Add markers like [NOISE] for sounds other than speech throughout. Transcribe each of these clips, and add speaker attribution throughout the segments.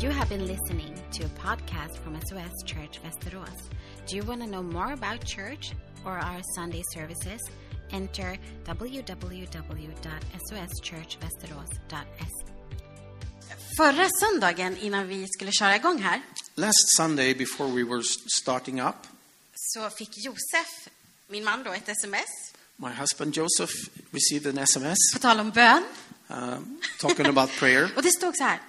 Speaker 1: You have been listening to a podcast from SOS Church Västerås. Do you want to know more about church or our Sunday services? Enter www.soschurchvesteros.se. E. Förra söndagen innan vi skulle köra igång här
Speaker 2: Last Sunday, before we were s- starting up,
Speaker 1: så fick Josef, min man då, ett sms.
Speaker 2: my husband Joseph received an SMS
Speaker 1: På tal om bön.
Speaker 2: um, talking about [LAUGHS] prayer,
Speaker 1: [LAUGHS] Och det stod så här.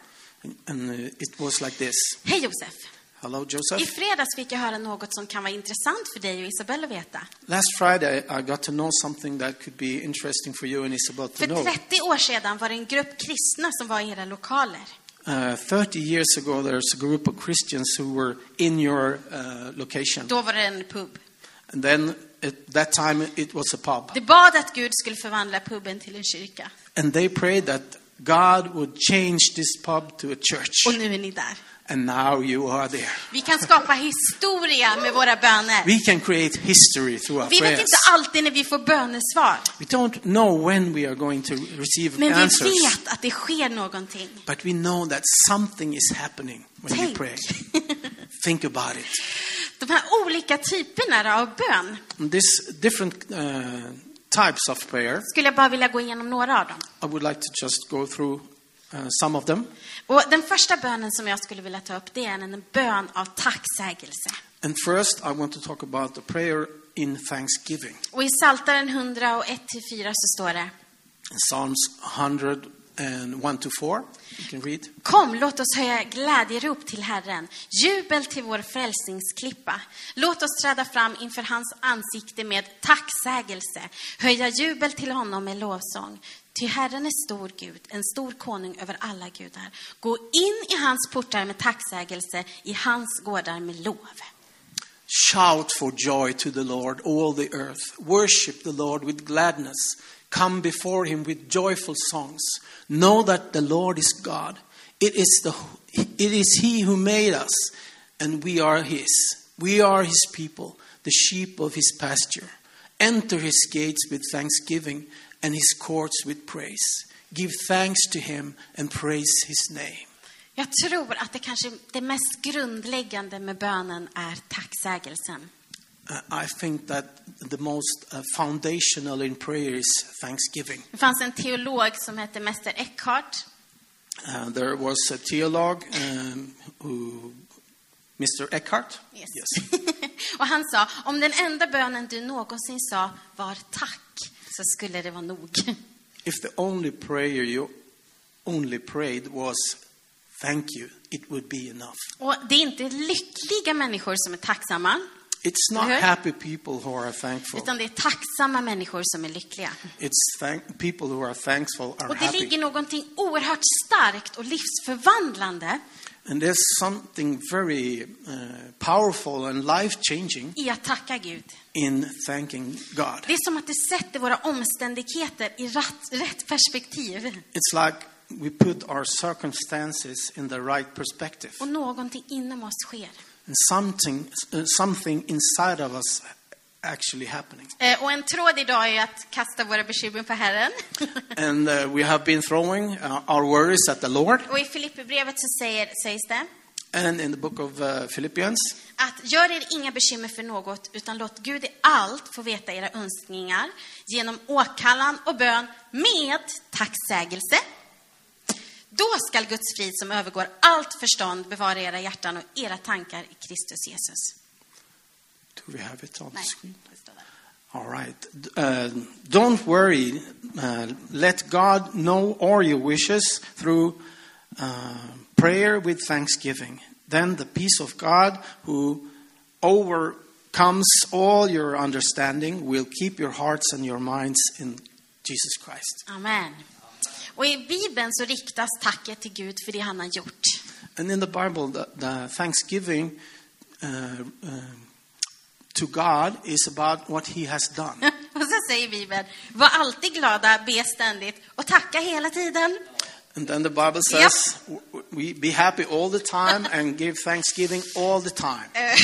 Speaker 2: and, and uh, it was like this
Speaker 1: Hej Josef!
Speaker 2: Hello,
Speaker 1: I
Speaker 2: Joseph.
Speaker 1: fredags fick jag höra något som kan vara intressant för dig och Isabella att veta.
Speaker 2: Last Friday, I got to know something that could be interesting for you and Isabel
Speaker 1: För
Speaker 2: to know.
Speaker 1: 30 år sedan var det en grupp kristna som var i era lokaler.
Speaker 2: Uh, 30 years ago, there's a group of Christians who were in your uh, location.
Speaker 1: Då var det en pub.
Speaker 2: And then at that time, it was a pub.
Speaker 1: De bad att Gud skulle förvandla puben till en kyrka.
Speaker 2: And they prayed that God would change this pub to a church.
Speaker 1: Och nu är ni där.
Speaker 2: And now you are there.
Speaker 1: Vi kan skapa historia med våra böner.
Speaker 2: We can create history through our
Speaker 1: Vi vet
Speaker 2: prayers.
Speaker 1: inte alltid när vi får bönesvar,
Speaker 2: We don't know when we are going to receive
Speaker 1: men vi
Speaker 2: answers,
Speaker 1: vet att det sker någonting.
Speaker 2: but we know that something is happening when we
Speaker 1: Tänk.
Speaker 2: pray. Think about it.
Speaker 1: [LAUGHS] De här olika typerna av bön
Speaker 2: And This different uh, types of prayer,
Speaker 1: skulle jag bara vilja gå igenom några av dem.
Speaker 2: I would like to just go through uh, some of them.
Speaker 1: Och den första bönen som jag skulle vilja ta upp, det är en bön av tacksägelse.
Speaker 2: And first, I want to talk about the prayer in thanksgiving.
Speaker 1: Och i Psaltaren 101 till 4 så står det
Speaker 2: In Psalms 101 to 4, you can read.
Speaker 1: Kom, låt oss höja glädjerop till Herren, jubel till vår frälsningsklippa. Låt oss träda fram inför hans ansikte med tacksägelse, höja jubel till honom med lovsång. Ty Herren är stor Gud, en stor konung över alla gudar. Gå in i hans portar med tacksägelse, i hans gårdar med lov.
Speaker 2: Shout for joy to the Lord, all the earth. Worship the Lord with gladness. Come before him with joyful songs. Know that the Lord is God. It is, the, it is he who made us, and we are his. We are his people, the sheep of his pasture. Enter his gates with thanksgiving and his courts with praise. Give thanks to him and praise his name.
Speaker 1: Jag tror att det kanske det mest grundläggande med bönen är tacksägelsen.
Speaker 2: Uh, I think that the most uh, foundational in prayer is thanksgiving.
Speaker 1: Det fanns en teolog som hette Mäster Eckhart
Speaker 2: Uh, there was a theologue, um, who, Mr. Eckhart.
Speaker 1: Yes.
Speaker 2: Yes.
Speaker 1: [LAUGHS] och han sa, om den enda bönen du någonsin sa var tack, så skulle det vara nog. [LAUGHS]
Speaker 2: If the only prayer you only prayed was thank you, it would be enough.
Speaker 1: Och det är inte lyckliga människor som är tacksamma,
Speaker 2: It's not
Speaker 1: Mhm.
Speaker 2: happy people who are thankful.
Speaker 1: utan det är tacksamma människor som är lyckliga.
Speaker 2: It's thank- people who are thankful are
Speaker 1: Och det ligger
Speaker 2: happy.
Speaker 1: någonting oerhört starkt och livsförvandlande
Speaker 2: And there's something very uh, powerful and life changing
Speaker 1: i att tacka Gud.
Speaker 2: in thanking God.
Speaker 1: Det är som att det sätter våra omständigheter i rätt, rätt perspektiv.
Speaker 2: It's like we put our circumstances in the right perspective.
Speaker 1: Och någonting inom oss sker.
Speaker 2: And something, uh, something inside of us actually happening.
Speaker 1: Eh, Och en tråd idag är ju att kasta våra bekymmer på
Speaker 2: [LAUGHS]
Speaker 1: Herren.
Speaker 2: And uh, we have been throwing uh, our worries at the Lord.
Speaker 1: Och i Filipperbrevet så säger, sägs det
Speaker 2: And in the book of uh, Philippians,
Speaker 1: att gör er inga bekymmer för något, utan låt Gud i allt få veta era önskningar genom åkallan och bön med tacksägelse. Då skall Guds frid som övergår allt förstånd bevara era hjärtan och era tankar i Kristus Jesus.
Speaker 2: do we have it on the
Speaker 1: Nej,
Speaker 2: screen?
Speaker 1: det står där.
Speaker 2: All right. D- Uh, don't worry. Uh, let God know all your wishes through uh, prayer with thanksgiving. Then the peace of God, who overcomes all your understanding, will keep your hearts and your minds in Jesus Christ.
Speaker 1: Amen. Och i Bibeln så riktas tacket till Gud för det han har gjort. [LAUGHS]
Speaker 2: And in the Bible, the, the thanksgiving uh, um, to God is about what He has done.
Speaker 1: Och så säger Bibeln, var alltid glada, be ständigt och tacka hela tiden.
Speaker 2: And then the Bible
Speaker 1: Yep.
Speaker 2: says, w w- "We be happy all the time and give thanksgiving all the time."
Speaker 1: Eh,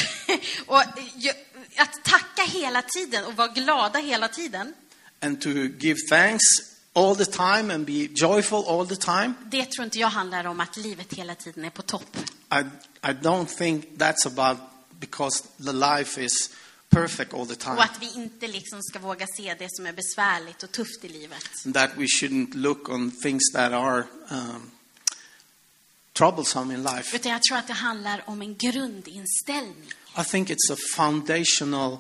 Speaker 1: [LAUGHS] och ju- att tacka hela tiden och vara glada hela tiden,
Speaker 2: And to give thanks all the time and be joyful all the time.
Speaker 1: Det tror inte jag handlar om att livet hela tiden är på topp.
Speaker 2: I, I don't think that's about because the life is perfect all the
Speaker 1: Och
Speaker 2: time.
Speaker 1: att vi inte liksom ska våga se det som är besvärligt och tufft i livet.
Speaker 2: That we shouldn't look on things that are um, troublesome in life.
Speaker 1: Utan jag tror att det handlar om en grundinställning.
Speaker 2: I think it's a foundational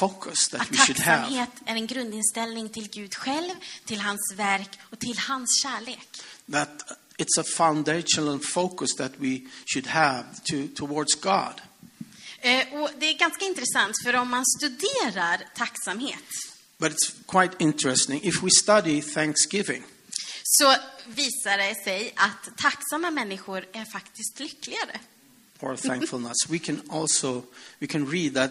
Speaker 2: focus that
Speaker 1: Att
Speaker 2: we should have.
Speaker 1: tacksamhet är en grundinställning till Gud själv, till hans verk och till hans kärlek.
Speaker 2: That it's a foundational focus that we should have to, towards God.
Speaker 1: Eh, Och det är ganska intressant, för om man studerar tacksamhet
Speaker 2: But it's quite interesting. If we study Thanksgiving,
Speaker 1: så visar det sig att tacksamma människor är faktiskt lyckligare.
Speaker 2: or thankfulness. we can also we can read that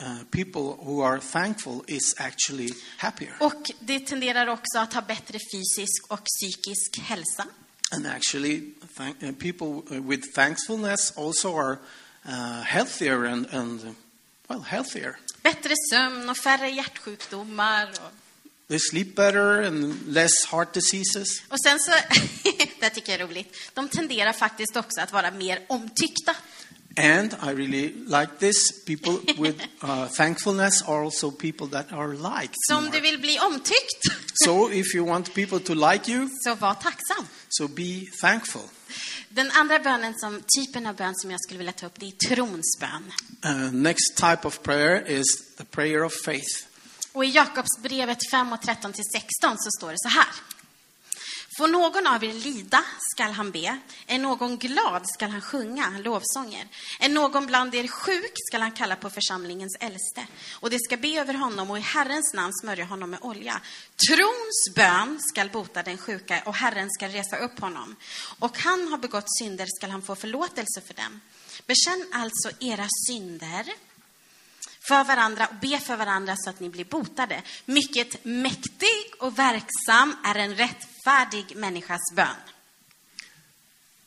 Speaker 2: uh, people who are thankful is actually happier
Speaker 1: Och det tenderar också att ha bättre fysisk och psykisk hälsa.
Speaker 2: and actually thank, uh, people with thankfulness also are uh, healthier and, and well healthier
Speaker 1: Bättre sömn och färre hjärtsjukdomar. Och,
Speaker 2: they sleep better and less heart diseases
Speaker 1: och sen så, [LAUGHS] det här tycker jag är roligt, de tenderar faktiskt också att vara mer omtyckta.
Speaker 2: and i really like this people with uh, thankfulness are also people that are liked
Speaker 1: Så om
Speaker 2: more.
Speaker 1: du vill bli omtyckt,
Speaker 2: so if you want people to like you
Speaker 1: så var tacksam.
Speaker 2: so be thankful
Speaker 1: Den andra bönen som, typen av bön som jag skulle vilja ta upp, det är trons bön.
Speaker 2: Uh, next type of prayer is the prayer of faith.
Speaker 1: Och i Jakobsbrevet 5 och 13 till 16 så står det så här. Får någon av er lida skall han be, är någon glad skall han sjunga lovsånger, är någon bland er sjuk skall han kalla på församlingens äldste, och det ska be över honom och i Herrens namn smörja honom med olja. Trons bön skall bota den sjuka, och Herren skall resa upp honom, och han har begått synder skall han få förlåtelse för dem. Bekänn alltså era synder för varandra och be för varandra så att ni blir botade. Mycket mäktig och verksam är en rättfärdig människas bön.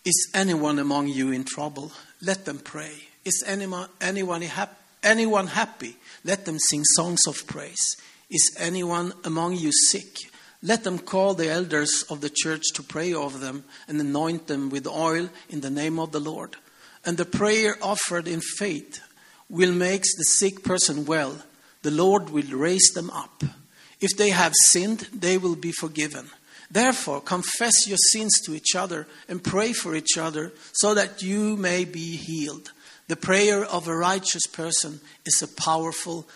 Speaker 2: Is anyone among you in trouble? Let them pray. Is anyone, anyone, hap- anyone happy? Let them sing songs of praise. Is anyone among you sick? Let them call the elders of the church to pray over them and anoint them with oil in the name of the Lord. And the prayer offered in faith will make the sick person well. The Lord will raise them up. If they have sinned, they will be forgiven. Therefore, confess your sins to each other and pray for each other so that you may be healed. The prayer of a righteous person is a powerful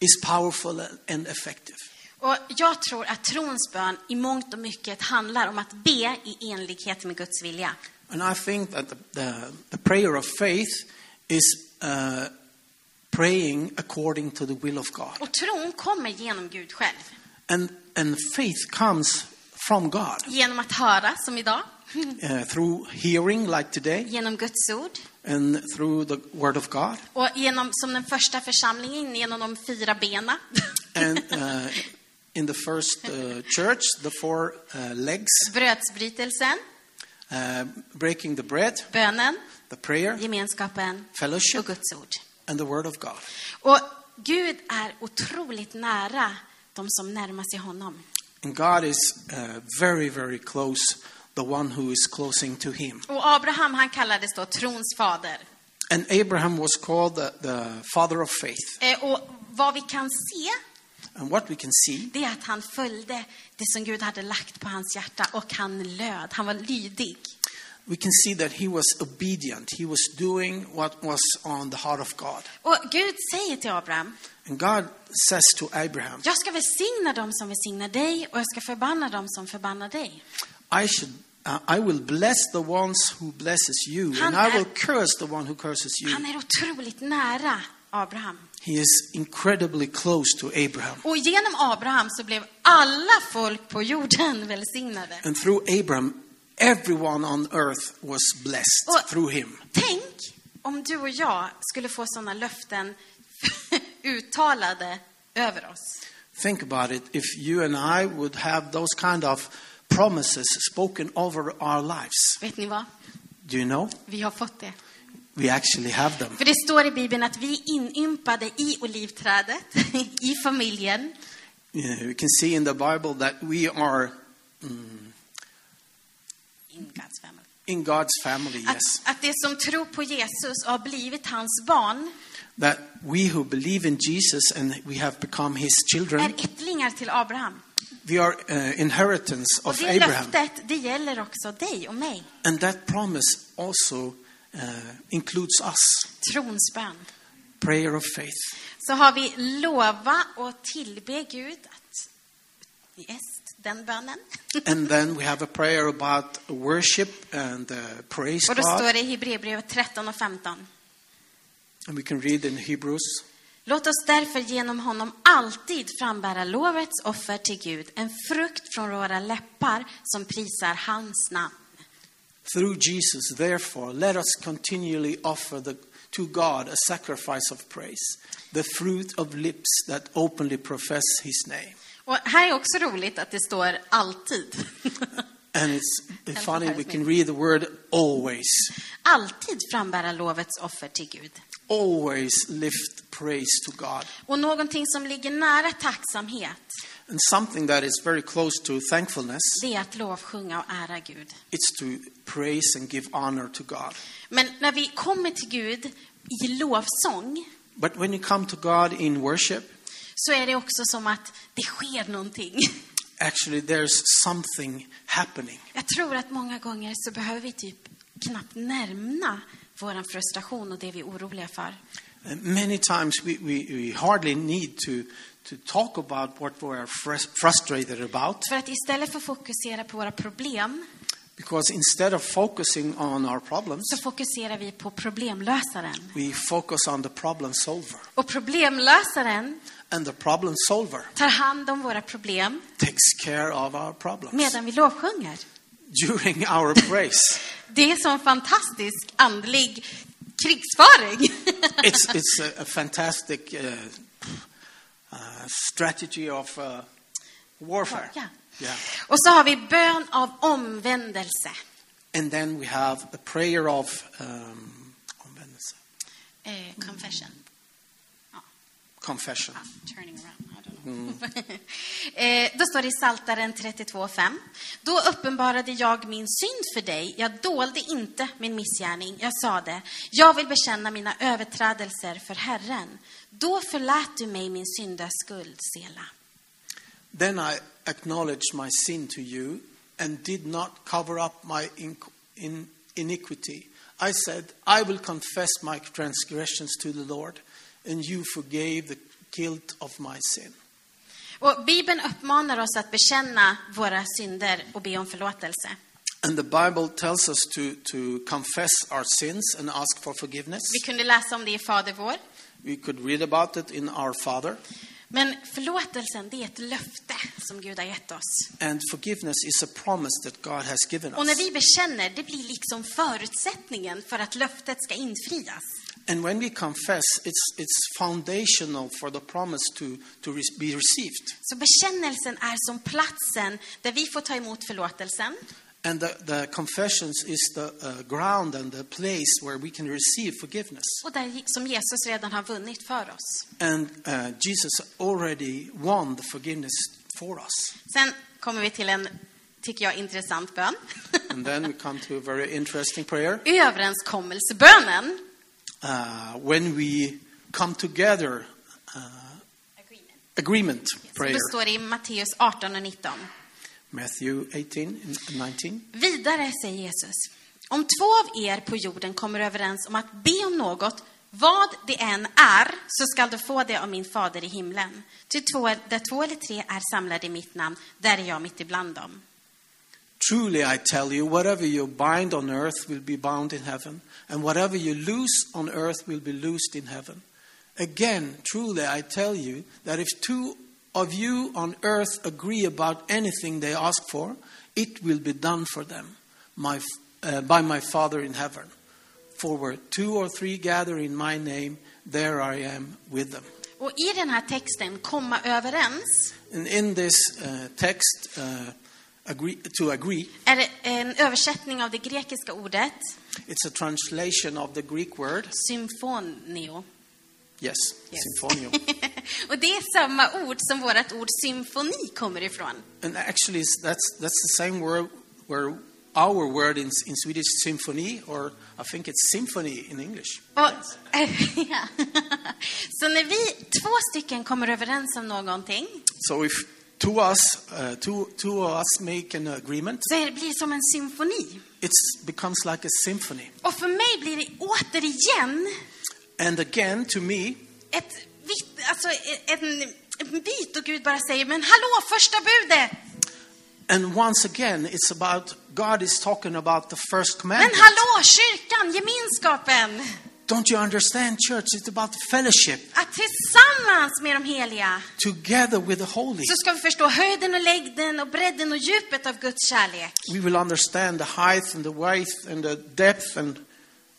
Speaker 2: is powerful and effective.
Speaker 1: Och jag tror att trons bön i mångt och mycket handlar om att be i enlighet med Guds vilja.
Speaker 2: And I think that the, the, the prayer of faith is uh, praying according to the will of God.
Speaker 1: Och tron kommer genom Gud själv,
Speaker 2: And, and faith comes from God
Speaker 1: genom att höra som idag,
Speaker 2: uh, through hearing, like today,
Speaker 1: genom Guds ord
Speaker 2: and through the Word of God.
Speaker 1: och genom, som den första församlingen, genom de fyra bena.
Speaker 2: And uh, in the first uh, church, the four uh, legs,
Speaker 1: [LAUGHS] Brödsbrytelsen,
Speaker 2: uh, breaking the bread,
Speaker 1: bönen,
Speaker 2: the prayer,
Speaker 1: gemenskapen och
Speaker 2: fellowship,
Speaker 1: Guds ord.
Speaker 2: and the Word of God.
Speaker 1: Och Gud är otroligt nära de som närmar sig honom.
Speaker 2: And God is uh, very, very close, the one who is closing to Him.
Speaker 1: Och Abraham han kallades då trons fader.
Speaker 2: And Abraham was called the, the father of faith.
Speaker 1: Eh, Och vad vi kan se,
Speaker 2: And what we can see
Speaker 1: det är att han följde det som Gud hade lagt på hans hjärta och han löd, han var lydig.
Speaker 2: we can see that he was obedient. He was doing what was on the heart of God.
Speaker 1: Och Gud säger till Abraham,
Speaker 2: And God says to Abraham,
Speaker 1: jag ska välsigna dem som välsignar dig och jag ska förbanna dem som förbannar dig.
Speaker 2: I should uh, I will bless the ones who blesses you and I will curse the one who curses you.
Speaker 1: Han är otroligt nära Abraham.
Speaker 2: He is incredibly close to Abraham.
Speaker 1: Och genom Abraham så blev alla folk på jorden [LAUGHS] välsignade.
Speaker 2: And through Abraham everyone on earth was blessed
Speaker 1: Och-
Speaker 2: through him.
Speaker 1: Tänk om du och jag skulle få sådana löften [LAUGHS] uttalade över oss.
Speaker 2: Think about it if you and I would have those kind of promises spoken over our lives.
Speaker 1: Vet ni vad?
Speaker 2: Do you know?
Speaker 1: Vi har fått det.
Speaker 2: We actually have them.
Speaker 1: För det [LAUGHS] står i Bibeln att vi är inympade i olivträdet, i familjen,
Speaker 2: Yeah, we can see in the Bible that we are mm,
Speaker 1: In God's family.
Speaker 2: in God's family, yes.
Speaker 1: Att, att det som tror på Jesus och har blivit hans barn
Speaker 2: That we who believe in Jesus and we have become his children,
Speaker 1: är ättlingar till Abraham.
Speaker 2: we are uh, inheritance
Speaker 1: Och
Speaker 2: of
Speaker 1: det
Speaker 2: Abraham.
Speaker 1: löftet, det gäller också dig och mig.
Speaker 2: And that promise also uh, includes us
Speaker 1: Trons bön.
Speaker 2: prayer of faith.
Speaker 1: Så har vi lova och tillbe Gud att... Yes, den bönen.
Speaker 2: And then we have a prayer about worship and uh, praise
Speaker 1: Och då står
Speaker 2: God.
Speaker 1: det i Hebreerbrevet 13 och 15.
Speaker 2: And we can read in Hebrews.
Speaker 1: Låt oss därför genom honom alltid frambära lovets offer till Gud, en frukt från våra läppar som prisar hans namn.
Speaker 2: Through Jesus, therefore, let us continually offer the, to God a sacrifice of praise, the fruit of lips that openly profess his name.
Speaker 1: Och här är också roligt att det står alltid. [LAUGHS]
Speaker 2: And it's
Speaker 1: for
Speaker 2: funny, we
Speaker 1: Husband.
Speaker 2: can read the word always.
Speaker 1: alltid frambära lovets offer till Gud.
Speaker 2: Always lift praise to God.
Speaker 1: Och någonting som ligger nära tacksamhet,
Speaker 2: And something that is very close to thankfulness,
Speaker 1: det är att lovsjunga och ära Gud.
Speaker 2: it's to praise and give honor to God.
Speaker 1: Men när vi kommer till Gud i lovsång
Speaker 2: But when you come to God in worship,
Speaker 1: så är det också som att det sker någonting. [LAUGHS]
Speaker 2: actually there's something happening.
Speaker 1: Jag tror att många gånger så behöver vi typ knappt nämna vår frustration och det vi är oroliga för.
Speaker 2: And many times we, we, we hardly need to, to talk about what we are frus- frustrated about
Speaker 1: För att istället för att fokusera på våra problem
Speaker 2: because instead of focusing on our problems,
Speaker 1: så fokuserar vi på problemlösaren.
Speaker 2: we focus on the problem solver.
Speaker 1: Och problemlösaren
Speaker 2: And the problem solver
Speaker 1: tar hand om våra problem
Speaker 2: takes care of our problems
Speaker 1: medan vi lovsjunger.
Speaker 2: during our praise.
Speaker 1: Det är som fantastisk andlig [LAUGHS] krigsföring.
Speaker 2: It's, it's a, a fantastic uh, uh, strategy of uh, warfare.
Speaker 1: Ja.
Speaker 2: Yeah.
Speaker 1: Och så har vi bön av omvändelse.
Speaker 2: And then we have a prayer of um, omvändelse,
Speaker 1: Eh, confession.
Speaker 2: confession.
Speaker 1: Ah, Turning around. I don't know. [LAUGHS] eh, då står det i Saltaren 32.5. Då uppenbarade jag min synd för dig. Jag dolde inte min missgärning. Jag sade, jag vill bekänna mina överträdelser för Herren. Då förlät du mig min syndaskuld, Sela.
Speaker 2: Then I acknowledged my sin to you and did not cover up my in, in, iniquity. I said, I will confess my transgressions to the Lord, and you forgave the guilt of my sin.
Speaker 1: Och Bibeln uppmanar oss att bekänna våra synder och be om förlåtelse.
Speaker 2: And the Bible tells us to, to confess our sins and ask for forgiveness.
Speaker 1: Vi kunde läsa om det i Fader vår.
Speaker 2: We could read about it in our Father.
Speaker 1: Men förlåtelsen, det är ett löfte som Gud har gett oss.
Speaker 2: And forgiveness is a promise that God has given
Speaker 1: Och när
Speaker 2: us.
Speaker 1: vi bekänner, det blir liksom förutsättningen för att löftet ska infrias.
Speaker 2: And when we confess, it's, it's foundational for the promise to, to re- be received.
Speaker 1: Så bekännelsen är som platsen där vi får ta emot förlåtelsen
Speaker 2: And the, the confessions is the uh, ground and the place where we can receive forgiveness.
Speaker 1: och där som Jesus redan har vunnit för oss.
Speaker 2: And uh, Jesus already won the forgiveness for us.
Speaker 1: Sen kommer vi till en, tycker jag, intressant bön.
Speaker 2: And then we come to a very interesting prayer.
Speaker 1: Överenskommelsebönen.
Speaker 2: Uh, when we come together, uh, agreement
Speaker 1: Så
Speaker 2: prayer.
Speaker 1: då står det i Matteus 18 och 19.
Speaker 2: Matthew 18 and 19.
Speaker 1: Vidare säger Jesus, om två av er på jorden kommer överens om att be om något, vad det än är, så skall du få det av min fader i himlen. Ty två, där två eller tre är samlade i mitt namn, där är jag mitt ibland dem.
Speaker 2: Truly I tell you, whatever you bind on earth will be bound in heaven, and whatever you loose on earth will be loosed in heaven. Again, truly I tell you that if two of you on earth agree about anything they ask for, it will be done for them my, uh, by my Father in heaven. For where two or three gather in my name, there I am with them.
Speaker 1: Och i den här texten, komma överens,
Speaker 2: And in this uh, text, uh, agree, to agree,
Speaker 1: är det en översättning av det grekiska ordet
Speaker 2: it's a translation of the Greek word.
Speaker 1: symfonio. [LAUGHS]
Speaker 2: Yes,
Speaker 1: Yes.
Speaker 2: symphonio. [LAUGHS]
Speaker 1: Och det är samma ord som vårt ord symfoni kommer ifrån.
Speaker 2: and actually, it's, that's, that's the same word where our word in, in Swedish, symphony, or I think it's symphony in English.
Speaker 1: Och, ja. [LAUGHS] Så när vi två stycken kommer överens om någonting
Speaker 2: So if two us, uh, two, two of us make an agreement,
Speaker 1: så är det- blir det som en symfoni.
Speaker 2: it becomes like a symphony.
Speaker 1: Och för mig blir det återigen
Speaker 2: And again, to me,
Speaker 1: ett, vitt, alltså, en, en bit och Gud bara säger men hallå, första budet!
Speaker 2: and once again, it's about God is talking about the first
Speaker 1: Men
Speaker 2: commandment.
Speaker 1: hallå, kyrkan, gemenskapen!
Speaker 2: Don't you understand, church? It's about fellowship
Speaker 1: Att tillsammans med de heliga
Speaker 2: together with the holy.
Speaker 1: så ska vi förstå höjden och längden och bredden och djupet av Guds kärlek.
Speaker 2: We will understand the height and the width and the depth and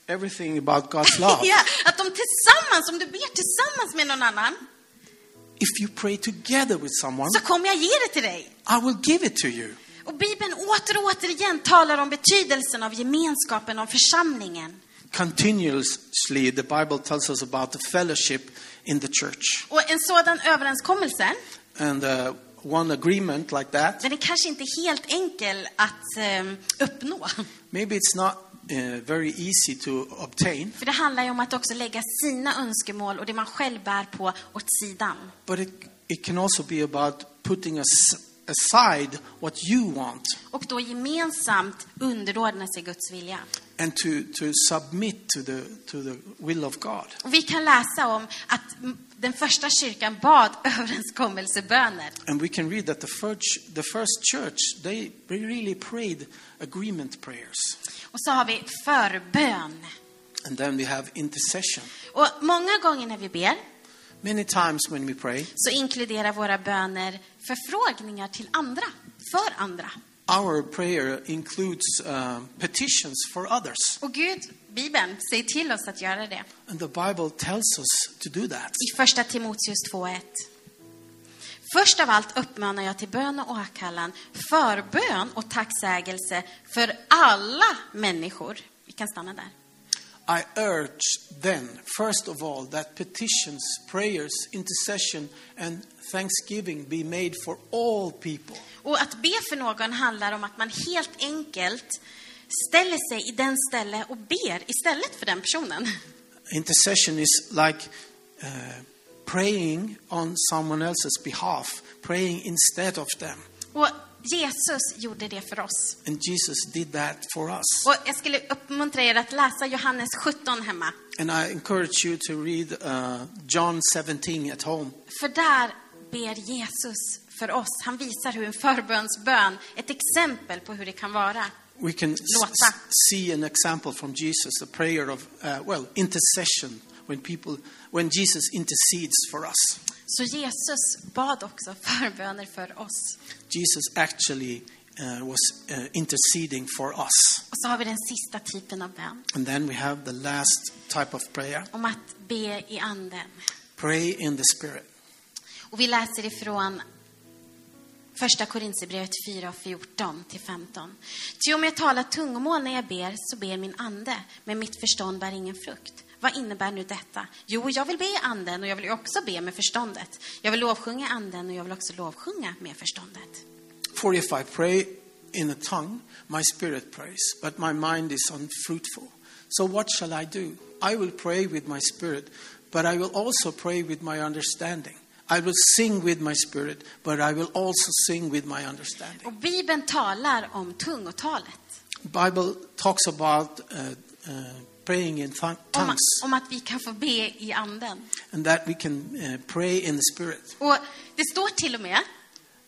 Speaker 2: everything about
Speaker 1: [LAUGHS]
Speaker 2: God's love.
Speaker 1: Ja, att de tillsammans, om du ber tillsammans med någon annan,
Speaker 2: If you pray together with someone,
Speaker 1: så kommer jag ge det till dig.
Speaker 2: I will give it to you.
Speaker 1: Och Bibeln åter och återigen talar om betydelsen av gemenskapen, om församlingen.
Speaker 2: Continuously, the Bible tells us about the fellowship in the church.
Speaker 1: Och en sådan överenskommelse,
Speaker 2: And uh, one agreement like that,
Speaker 1: den är kanske inte helt enkel att eh, uppnå.
Speaker 2: maybe it's not uh, very easy to obtain,
Speaker 1: För det handlar ju om att också lägga sina önskemål och det man själv bär på åt sidan.
Speaker 2: but it, it can also be about putting as, aside what you want
Speaker 1: Och då gemensamt underordna sig Guds vilja.
Speaker 2: and to, to submit to the, to the will of God.
Speaker 1: Och vi kan läsa om att mm, den första kyrkan bad [LAUGHS] överenskommelseböner.
Speaker 2: And we can read that the first, the first church, they really prayed agreement prayers.
Speaker 1: Och så har vi förbön.
Speaker 2: And then we have intercession.
Speaker 1: Och många gånger när vi ber
Speaker 2: Many times when we pray,
Speaker 1: så inkluderar våra böner förfrågningar till andra, för andra.
Speaker 2: our prayer includes um, petitions for others.
Speaker 1: Och Gud, Bibeln, säger till oss att göra det.
Speaker 2: And the Bible tells us to do that.
Speaker 1: I Första Timoteus 2.1. Först av allt uppmanar jag till bön och åkallan, förbön och tacksägelse för alla människor. Vi kan stanna där.
Speaker 2: I urge then, first of all, that petitions, prayers, intercession, and thanksgiving be made for all people.
Speaker 1: Och att be för någon handlar om att man helt enkelt ställer sig i den ställe och ber istället för den personen.
Speaker 2: Intercession is like uh, praying on someone else's behalf, praying instead of them.
Speaker 1: Och Jesus gjorde det för oss.
Speaker 2: And Jesus did that for us.
Speaker 1: Och jag skulle uppmuntra er att läsa Johannes 17 hemma.
Speaker 2: And I encourage you to read uh, John 17 at home.
Speaker 1: För där ber Jesus för oss. Han visar hur en förbönsbön, ett exempel på hur det kan vara.
Speaker 2: We can s-
Speaker 1: Låta.
Speaker 2: s- see an example from Jesus, the prayer of, uh, well, intercession, when people, when Jesus intercedes for us.
Speaker 1: Så Jesus bad också förböner för oss.
Speaker 2: Jesus actually uh, was uh, interceding for us.
Speaker 1: Och så har vi den sista typen av bön,
Speaker 2: And then we have the last type of prayer
Speaker 1: om att be i anden.
Speaker 2: pray in the Spirit.
Speaker 1: Och vi läser ifrån Första Korinthierbrevet 4 och 14 till 15. Ty om jag talar tungomål när jag ber, så ber min ande, men mitt förstånd bär ingen frukt. Vad innebär nu detta? Jo, jag vill be i anden och jag vill ju också be med förståndet. Jag vill lovsjunga i anden och jag vill också lovsjunga med förståndet.
Speaker 2: For if I pray in a tongue, my spirit prays, but my mind is unfruitful. So what shall I do? I will pray with my spirit, but I will also pray with my understanding. I will sing with my spirit, but I will also sing with my understanding.
Speaker 1: Och Bibeln talar om tungotalet,
Speaker 2: Bible talks about uh, uh, praying in th-
Speaker 1: om,
Speaker 2: tongues
Speaker 1: om att vi kan få be i anden.
Speaker 2: and that we can uh, pray in the spirit.
Speaker 1: Och det står till och med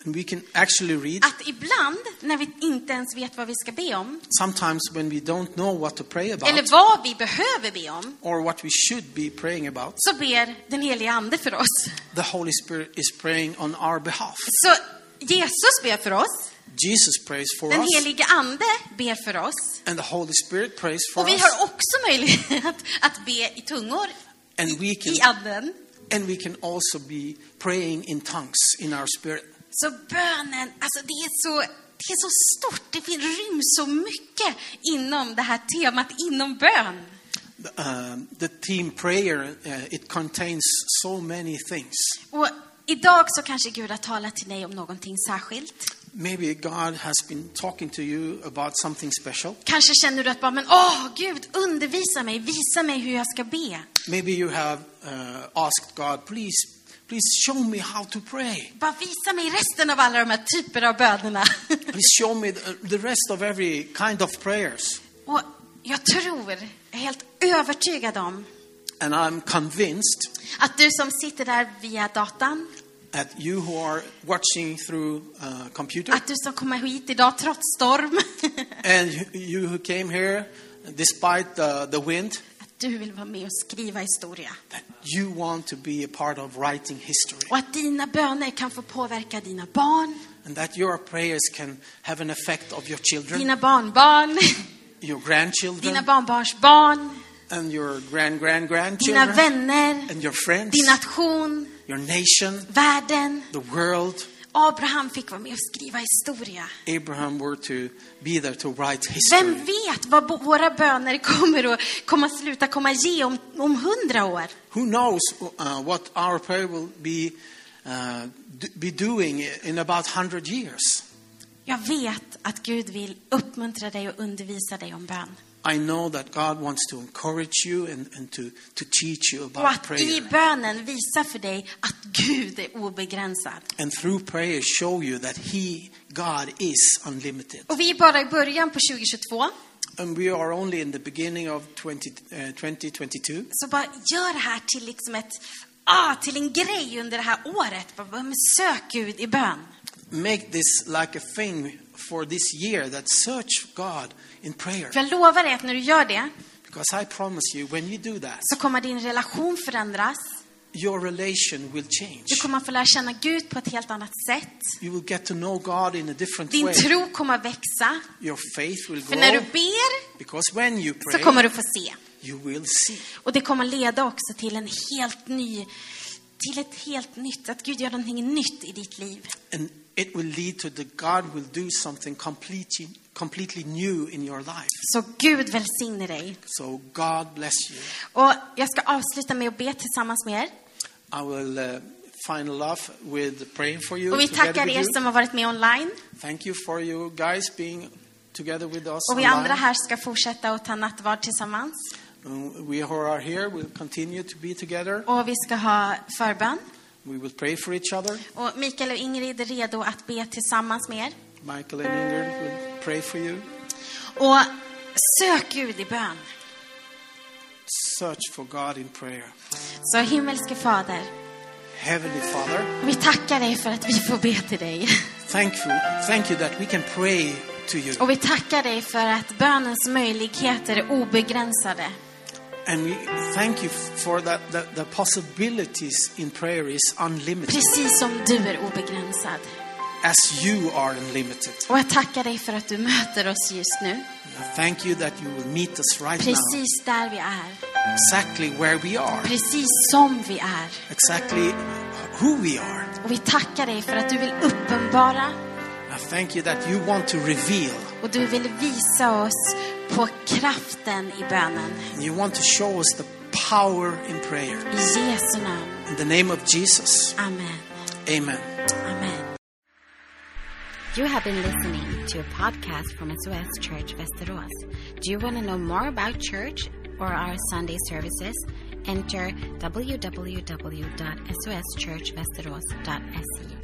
Speaker 2: And we can actually read
Speaker 1: att ibland, när vi inte ens vet vad vi ska be om,
Speaker 2: sometimes when we don't know what to pray
Speaker 1: eller
Speaker 2: about
Speaker 1: vad vi behöver be om,
Speaker 2: or what we should be praying about.
Speaker 1: så ber den heliga Ande för oss.
Speaker 2: the Holy Spirit is praying on our behalf.
Speaker 1: Så Jesus ber för oss,
Speaker 2: Jesus prays for
Speaker 1: den
Speaker 2: us,
Speaker 1: helige Ande ber för oss.
Speaker 2: and the Holy Spirit prays for
Speaker 1: Och vi
Speaker 2: us,
Speaker 1: har också möjlighet [LAUGHS] att be i tungor,
Speaker 2: and we can
Speaker 1: i anden.
Speaker 2: and we can also be praying in tongues in our spirit.
Speaker 1: Så bönen, alltså det är så, det är så stort, det fin- ryms så mycket inom det här temat, inom bön.
Speaker 2: um, the team prayer, uh, it contains so many things.
Speaker 1: Och idag så kanske Gud har talat till dig om någonting särskilt.
Speaker 2: Maybe God has been talking to you about something special.
Speaker 1: Kanske känner du att bara, men åh Gud, undervisa mig, visa mig hur jag ska be.
Speaker 2: Maybe you have uh, asked God, please, please show me how to pray.
Speaker 1: Bara visa mig resten av alla de här typer av bönerna. [LAUGHS]
Speaker 2: Please show me the the rest of every kind of prayers.
Speaker 1: Och jag tror, jag är helt övertygad om,
Speaker 2: And I'm convinced
Speaker 1: att du som sitter där via datan,
Speaker 2: that you who are watching through uh, computer
Speaker 1: att du som kommer hit idag trots storm, [LAUGHS]
Speaker 2: and you- you who came here despite the, the wind,
Speaker 1: att du vill vara med och skriva historia.
Speaker 2: that you want to be a part of writing history
Speaker 1: Och att dina böner kan få påverka dina barn,
Speaker 2: and that your prayers can have an effect of your children,
Speaker 1: dina barnbarn, [LAUGHS]
Speaker 2: your
Speaker 1: dina
Speaker 2: grandchildren,
Speaker 1: barnbarns barn,
Speaker 2: and your grand
Speaker 1: dina
Speaker 2: grand grandchildren,
Speaker 1: vänner,
Speaker 2: and your friends,
Speaker 1: din nation,
Speaker 2: your nation,
Speaker 1: världen.
Speaker 2: the world.
Speaker 1: Abraham fick vara med och skriva historia.
Speaker 2: Abraham were to be there to write
Speaker 1: Vem
Speaker 2: history.
Speaker 1: vet vad bo- våra böner kommer att kommer att sluta komma ge om, om hundra år?
Speaker 2: Who knows uh, what our prayer will be, uh, d- be doing in about 100 years?
Speaker 1: Jag vet att Gud vill uppmuntra dig och undervisa dig om bön.
Speaker 2: I know that God wants to encourage you and, and to, to teach you
Speaker 1: Och
Speaker 2: about
Speaker 1: att i
Speaker 2: prayer.
Speaker 1: bönen visa för dig att Gud är obegränsad.
Speaker 2: And through prayer, show you that He, God, is unlimited.
Speaker 1: Och vi är bara i början på 2022.
Speaker 2: And we are only in the beginning of 20, uh, 2022.
Speaker 1: Så bara gör det här till liksom ett, ah, till en grej under det här året. Bara, bara, men sök Gud i bön.
Speaker 2: Make this like a thing for this year that search God in prayer.
Speaker 1: För jag lovar dig att när du gör det
Speaker 2: Because I promise you, when you do that,
Speaker 1: så kommer din relation förändras.
Speaker 2: your relation will
Speaker 1: Du
Speaker 2: change.
Speaker 1: kommer få lära känna Gud på ett helt annat sätt.
Speaker 2: You will get to know God in a different
Speaker 1: Din
Speaker 2: way.
Speaker 1: tro kommer växa.
Speaker 2: Your faith will
Speaker 1: För när du
Speaker 2: grow.
Speaker 1: ber
Speaker 2: Because when you
Speaker 1: så
Speaker 2: pray,
Speaker 1: kommer du få se.
Speaker 2: you will see.
Speaker 1: Och det kommer leda också till en helt ny, till ett helt nytt, att Gud gör någonting nytt i ditt liv.
Speaker 2: And it will lead to that God will do something completely, completely new in your life.
Speaker 1: Så Gud välsigne dig.
Speaker 2: So God bless you.
Speaker 1: Och jag ska avsluta med att be tillsammans med er.
Speaker 2: I will uh, final off with praying for you.
Speaker 1: Och vi
Speaker 2: together
Speaker 1: tackar
Speaker 2: with
Speaker 1: er
Speaker 2: you.
Speaker 1: som har varit med online.
Speaker 2: Thank you for you guys being together with us.
Speaker 1: Och vi
Speaker 2: online.
Speaker 1: andra här ska fortsätta att ta nattvard tillsammans.
Speaker 2: And Um, We who are here will continue to be together.
Speaker 1: Och vi ska ha förbön.
Speaker 2: We will pray for each other.
Speaker 1: Och Mikael och Ingrid är redo att be tillsammans med er.
Speaker 2: Michael and Ingrid will pray for you.
Speaker 1: Och sök Gud i bön.
Speaker 2: Search for God in prayer.
Speaker 1: Så himmelske Fader,
Speaker 2: Heavenly Father,
Speaker 1: vi tackar dig för att vi får be till dig. [LAUGHS]
Speaker 2: thank you, thank you that we can pray to you.
Speaker 1: Och vi tackar dig för att bönens möjligheter är obegränsade.
Speaker 2: And we thank you for that, that the possibilities in prayer is unlimited
Speaker 1: Precis som du är obegränsad.
Speaker 2: as you are unlimited.
Speaker 1: Och jag tackar dig för att du möter oss just nu.
Speaker 2: And I thank you that you will meet us right now,
Speaker 1: Precis där vi är.
Speaker 2: exactly where we are,
Speaker 1: Precis som vi är.
Speaker 2: exactly who we are.
Speaker 1: Och vi tackar dig för att du vill uppenbara
Speaker 2: And I thank you that you want to reveal
Speaker 1: och du vill visa oss på kraften i bönen.
Speaker 2: and you want to show us the power in prayer.
Speaker 1: I Jesu namn.
Speaker 2: In the name of Jesus,
Speaker 1: Amen.
Speaker 2: amen.
Speaker 1: Amen.
Speaker 3: You have been listening to a podcast from SOS Church Västerås. Do you want to know more about church or our Sunday services? Enter www.soschurchvesteros.se.